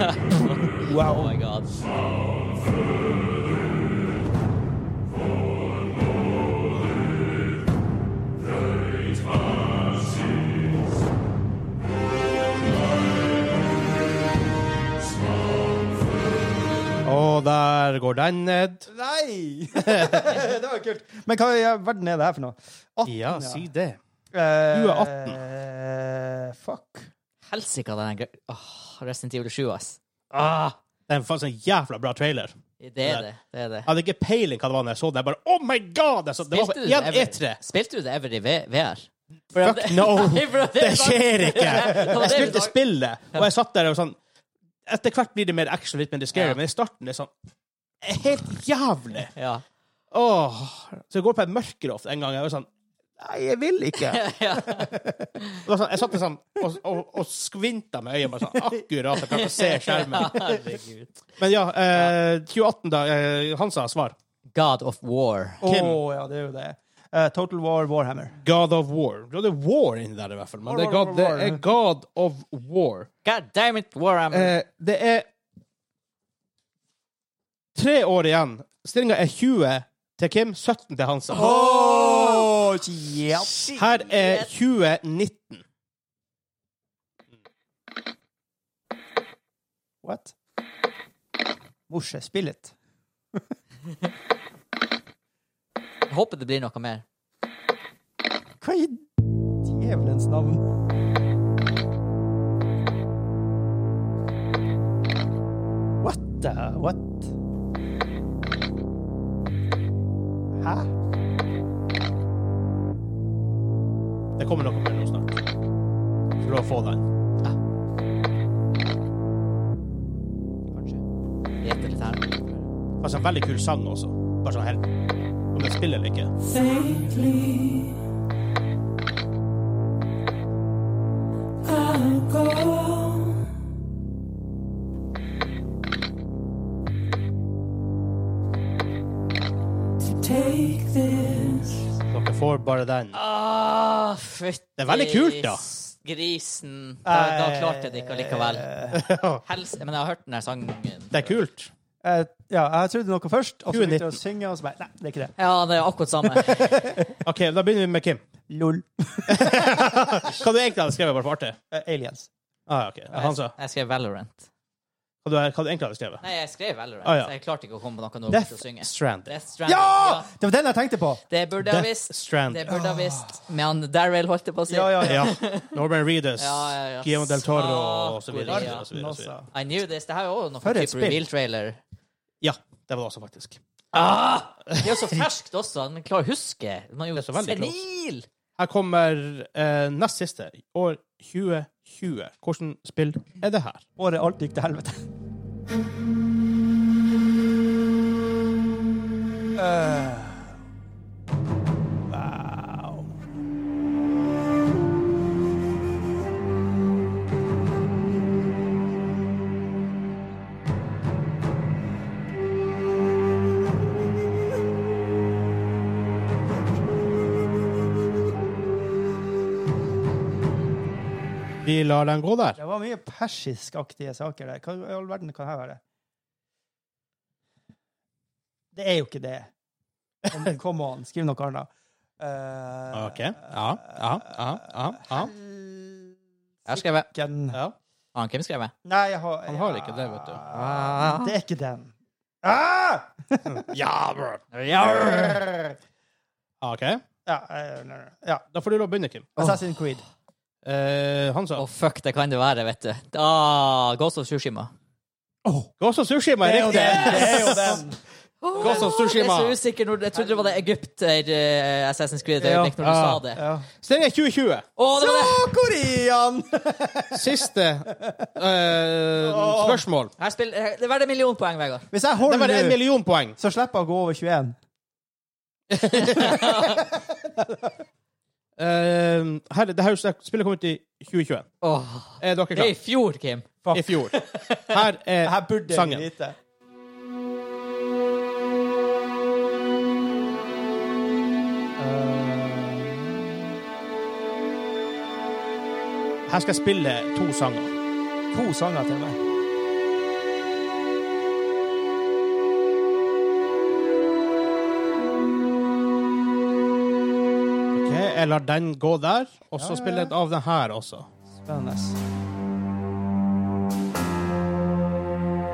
Speaker 2: Oh
Speaker 3: Wow.
Speaker 2: my god.
Speaker 1: Og der går den ned.
Speaker 3: Nei! det var kult. Men hva i verden er det her for noe? 18,
Speaker 1: Ja, si det.
Speaker 3: Eh,
Speaker 1: Du er Eh,
Speaker 3: fuck.
Speaker 2: Helsike, den gre- Åh, Resident Evil 7, ass.
Speaker 1: Ah, det er faktisk en jævla bra trailer.
Speaker 2: Det er det. det, er det.
Speaker 1: Jeg hadde ikke peiling hva det var når jeg så den. Jeg bare, oh my god! Jeg så, det var E
Speaker 2: Spilte du
Speaker 1: igjen
Speaker 2: det ever-
Speaker 1: E3.
Speaker 2: Spilte du det ever i V- VR?
Speaker 1: Fuck no!
Speaker 2: Nei, bro, det
Speaker 1: Det
Speaker 2: er sånn- sant.
Speaker 1: skjer ikke!
Speaker 2: Det var
Speaker 1: Jeg
Speaker 2: det vi
Speaker 1: spilte
Speaker 2: sa.
Speaker 1: spillet, og jeg satt der og sånn Etter hvert blir det mer action, litt mer scary,
Speaker 2: Ja.
Speaker 1: men i starten er det sånn Helt jævlig!
Speaker 2: Ja.
Speaker 1: Åh. Så jeg går på et mørkeroft en gang, og jeg var sånn Nei, jeg vil ikke.
Speaker 2: ja.
Speaker 1: Det var Sånn, jeg satt der sånn og, og, og skvinta med øyet, bare sånn akkurat jeg klarte å se skjermen.
Speaker 2: Herregud.
Speaker 1: Men ja, eh, 2018, da. Eh, Hansa, svar.
Speaker 2: God of War.
Speaker 3: Å ja, det er jo det. Eh, Total War Warhammer.
Speaker 1: God of War. Du hadde War inni der, i hvert fall. Men det er God, det er God of War.
Speaker 2: God damn it, Warhammer.
Speaker 1: Eh, det er tre år igjen. Stillinga er 20 til Kim, 17 til Hansa.
Speaker 3: Oh, yeah.
Speaker 1: Her er 2019.
Speaker 3: What? Morse, spill it.
Speaker 2: Jeg håper det blir noe mer.
Speaker 3: Hva i djevelens navn? What the What? Hæ?
Speaker 1: Det kommer noe mer nå snart. For å få den.
Speaker 2: Kanskje. Gjette litt her.
Speaker 1: Faktisk en veldig kul sang også. Bare sånn helt Om den spiller eller ikke.
Speaker 5: faintly. I'll go. to Take this.
Speaker 1: Dere får bare den.
Speaker 2: Ah, fytti
Speaker 1: Det er veldig kult, da.
Speaker 2: Grisen. Da, da klarte jeg det ikke allikevel. Helse, men jeg har hørt den der sangen.
Speaker 1: Det er kult.
Speaker 3: Eh, ja, jeg trodde noe først, og så begynte jeg
Speaker 1: 2019.
Speaker 3: å synge, og så bare Nei, det er ikke det.
Speaker 2: Ja, det er akkurat samme.
Speaker 1: OK, da begynner vi med Kim.
Speaker 3: Lol.
Speaker 1: Hva du egentlig hadde skrevet, bare for artig?
Speaker 3: Eh, aliens.
Speaker 1: Ah, ok. Han sa.
Speaker 2: Jeg skrev Valorant.
Speaker 1: Hva du, hva du egentlig hadde skrevet?
Speaker 2: Nei, jeg skrev Valorant,
Speaker 1: Ah, ja.
Speaker 2: så jeg klarte ikke å komme på noe når jeg begynte å synge.
Speaker 1: Death Stranded.
Speaker 2: Death Stranding.
Speaker 3: Ja!
Speaker 2: ja!
Speaker 3: Det var den jeg tenkte på!
Speaker 2: Det burde jeg
Speaker 1: Death
Speaker 2: visst. Det
Speaker 1: Stranded.
Speaker 2: burde jeg visst. Med han Daryl, holdt jeg på å si.
Speaker 3: Ja, ja, ja.
Speaker 1: Ah. Ja. Norman Reedus,
Speaker 2: Ja, ja, ja.
Speaker 1: Guillermo del Toro og så videre.
Speaker 2: Ja.
Speaker 1: og så videre, og så videre.
Speaker 3: Nossa.
Speaker 2: I knew this. Det her er jo noe
Speaker 3: For et
Speaker 2: type
Speaker 3: spill.
Speaker 2: reveal-trailer.
Speaker 1: Ja, det var det også, faktisk.
Speaker 2: Det er jo så ferskt også. Man klarer å huske. Man er
Speaker 1: Det
Speaker 2: jo
Speaker 1: er så veldig
Speaker 2: senil!
Speaker 1: Her kommer eh, nest siste, år 2020. Hvordan spill er det her?
Speaker 3: Året alt gikk til helvete.
Speaker 1: Vi lar den gå der.
Speaker 3: Det var mye persiskaktige saker der. Hva i all verden kan her være? Det er jo ikke det. Kom- Come on, skriv noe annet. Eh,
Speaker 1: OK. Ja, ja, ja. ja, ja.
Speaker 2: Jeg har skrevet.
Speaker 3: Ken-
Speaker 2: Har han Kim skrevet?
Speaker 3: Nei, jeg har
Speaker 1: Han har ikke det, vet du.
Speaker 3: Det er ikke den. Ah!
Speaker 1: Ja, bro. OK.
Speaker 3: Ja, eh, nei, nei, ja.
Speaker 1: Da får du lov å begynne, Kim.
Speaker 3: Assassin's Creed.
Speaker 1: Eh, han
Speaker 2: Å,
Speaker 1: sa
Speaker 2: fuck, det kan det være, vet du. Ah, Ghost of Sushima.
Speaker 1: Ghost of Sushima er riktig!
Speaker 3: Det er jo den.
Speaker 1: Ghost of Tsushima.
Speaker 2: Jeg er så usikker når Jeg trodde det var det Egypter eh, Assassin's Creed et øyeblikk når du
Speaker 1: Ja.
Speaker 2: sa det. Å,
Speaker 3: Ja.
Speaker 1: Stillinga er 2020.
Speaker 2: det var det!
Speaker 3: Korean!
Speaker 1: Siste eh, spørsmål.
Speaker 2: Her spill- eh, det er verdt en million poeng, Vegard.
Speaker 3: Hvis jeg
Speaker 1: Det
Speaker 3: holder
Speaker 1: var en
Speaker 3: nå,
Speaker 1: million poeng.
Speaker 3: så slipper jeg å gå over 21.
Speaker 1: Uh, her, det her spillet kom ut i 2021.
Speaker 2: Åh,
Speaker 1: Er dere
Speaker 2: det er i
Speaker 1: klare?
Speaker 2: fjor, Kim.
Speaker 1: I fjor. Her er
Speaker 3: Her burde jeg
Speaker 1: sangen.
Speaker 3: vite.
Speaker 1: Her skal jeg spille to sanger.
Speaker 3: Eh, To sanger til meg.
Speaker 1: Ok, Jeg lar den gå der, og så spiller jeg av den her også.
Speaker 3: Spennende.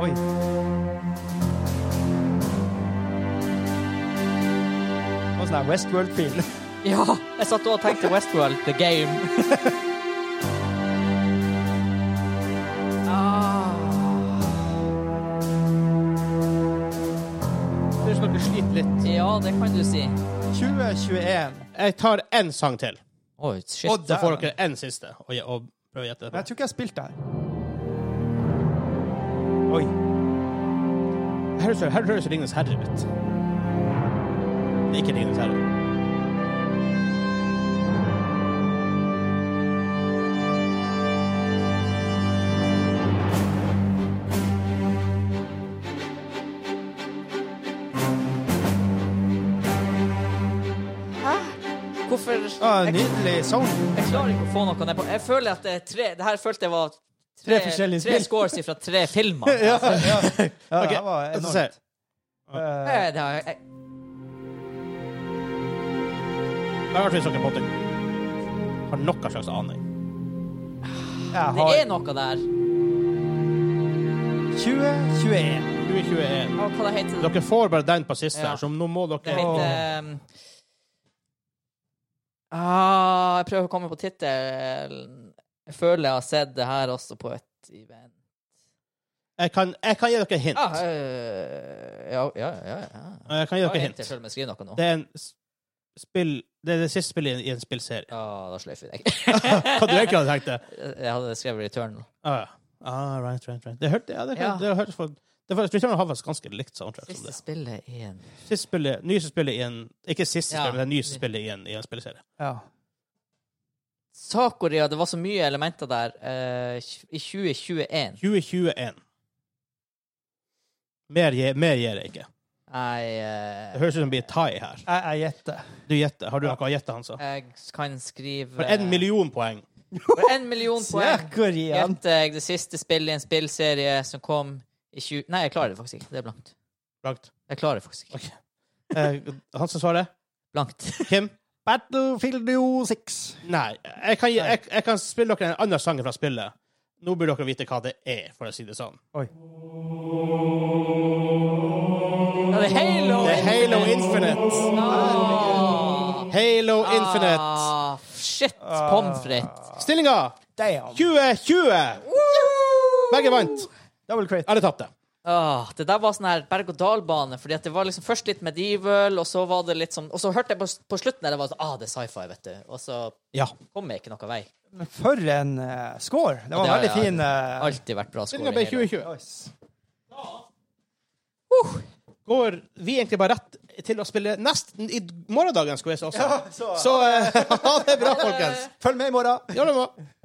Speaker 3: Oi. Det var sånn der Westworld-feel.
Speaker 2: Ja, jeg satt og tenkte Westworld, the game.
Speaker 1: Hvis dere sånn sliter litt
Speaker 2: Ja, det kan du si.
Speaker 3: 2021.
Speaker 1: Jeg tar én sang til,
Speaker 2: Oi, shit.
Speaker 3: Og
Speaker 1: så får
Speaker 3: der.
Speaker 1: dere én siste. Og, gje- og prøv å gjette
Speaker 3: Men
Speaker 1: det.
Speaker 3: jeg tror ikke jeg har spilt det her. Oi.
Speaker 1: Her høres- her høres Ringenes herre ut. Det er ikke Ringenes herre.
Speaker 2: Hvorfor jeg,
Speaker 3: Ah,
Speaker 2: jeg
Speaker 3: nydelig sound.
Speaker 2: klarer ikke å få noe ned på Jeg føler at det er tre Det her følte jeg var tre,
Speaker 3: forskjellige
Speaker 2: tre
Speaker 3: spill.
Speaker 2: scores fra tre filmer.
Speaker 3: Ja,
Speaker 1: Ok,
Speaker 3: det var
Speaker 1: jeg skal se.
Speaker 3: enormt. Eh,
Speaker 2: Eh, Det har jeg
Speaker 1: Det er rart hvis dere på en måte har noen slags aning.
Speaker 3: jeg
Speaker 2: Det
Speaker 3: har
Speaker 2: er noe der.
Speaker 3: 2021.
Speaker 1: 2021.
Speaker 2: Hva hva det heter det?
Speaker 1: Dere får bare den på siste,
Speaker 2: Ja.
Speaker 1: her, så nå må
Speaker 2: Det
Speaker 1: dere
Speaker 2: heter um, ah, Jeg prøver å komme på tittelen. Jeg føler jeg har sett det her også på et event.
Speaker 1: Jeg kan, jeg kan gi dere et hint.
Speaker 2: Ah, eh, ja, ja, ja. ja.
Speaker 1: Jeg kan gi
Speaker 2: Jeg
Speaker 1: dere et hint.
Speaker 2: henter selv om jeg skriver noe nå.
Speaker 1: Det er en s- spill Det er det siste spillet i en- i en spillserie.
Speaker 2: Ja, Ah, da sløyfer jeg deg.
Speaker 1: Hva du egentlig hadde tenkt det?
Speaker 2: Jeg hadde skrevet Returnal.
Speaker 1: Ah, ja. ah, right, right, right. Det hørte ja, det, kan,
Speaker 2: Ja.
Speaker 1: det hørtes for Det var, Return har faktisk ganske likt soundtrack som
Speaker 2: Siste
Speaker 1: det.
Speaker 2: spillet i en
Speaker 1: Siste spillet, nyeste spillet i en Ikke siste
Speaker 2: Ja.
Speaker 1: spillet, men det nyeste spillet i en, i en spilleserie.
Speaker 3: Ja.
Speaker 2: Sakuria, det var så mye elementer der. eh, I 2021
Speaker 1: 2021. Mer, gir- mer gir jeg ikke.
Speaker 2: jeg
Speaker 1: Det
Speaker 2: eh,
Speaker 1: høres ut som det blir thai her.
Speaker 3: Jeg, jeg gjetter.
Speaker 1: Du gjetter. Har du noe å gjette, Hansa?
Speaker 2: Jeg kan skrive
Speaker 1: For én million poeng.
Speaker 2: For en million poeng
Speaker 3: Sør-Korean.
Speaker 2: gjetter jeg det siste spillet i en spillserie som kom i 20... Nei, jeg klarer det faktisk ikke. Det er blankt.
Speaker 1: Blankt.
Speaker 2: Jeg klarer det faktisk ikke.
Speaker 1: Eh, Hansa svarer.
Speaker 2: Blankt.
Speaker 1: Kim?
Speaker 3: Battlefield 6.
Speaker 1: Nei. Jeg kan, gi- jeg, jeg kan spille dere en annen sang fra spillet. Nå burde dere vite hva det er, for å si det sånn.
Speaker 2: Ja, det er Halo!
Speaker 1: Det er Halo Infinite. Halo Infinite.
Speaker 2: Ah, shit, pommes frites.
Speaker 1: Stillinga
Speaker 3: Damn.
Speaker 1: 2020. Begge vant.
Speaker 3: Double crit.
Speaker 1: Alle tapte.
Speaker 2: Ah, det der var sånn her berg-og-dal-bane. Fordi at det var liksom først litt medieval, og så var det litt sånn Og så hørte jeg på, på slutten der det var sånn Ah, det er sci-fi, vet du. Og så
Speaker 1: Ja.
Speaker 2: kom jeg ikke noen vei.
Speaker 3: For en eh, score. Det var en
Speaker 2: Ja,
Speaker 3: veldig
Speaker 2: ja,
Speaker 3: fin eh,
Speaker 2: Alltid vært bra
Speaker 1: Stillinga
Speaker 2: scoring.
Speaker 1: ble
Speaker 2: hele.
Speaker 1: 2020.
Speaker 3: nice.
Speaker 1: Går vi egentlig bare rett til å spille nesten i morgendagen, skulle jeg si også.
Speaker 3: så-
Speaker 1: Så eh, ha det bra, folkens.
Speaker 3: Følg med i morgen.
Speaker 1: Gjør det bra.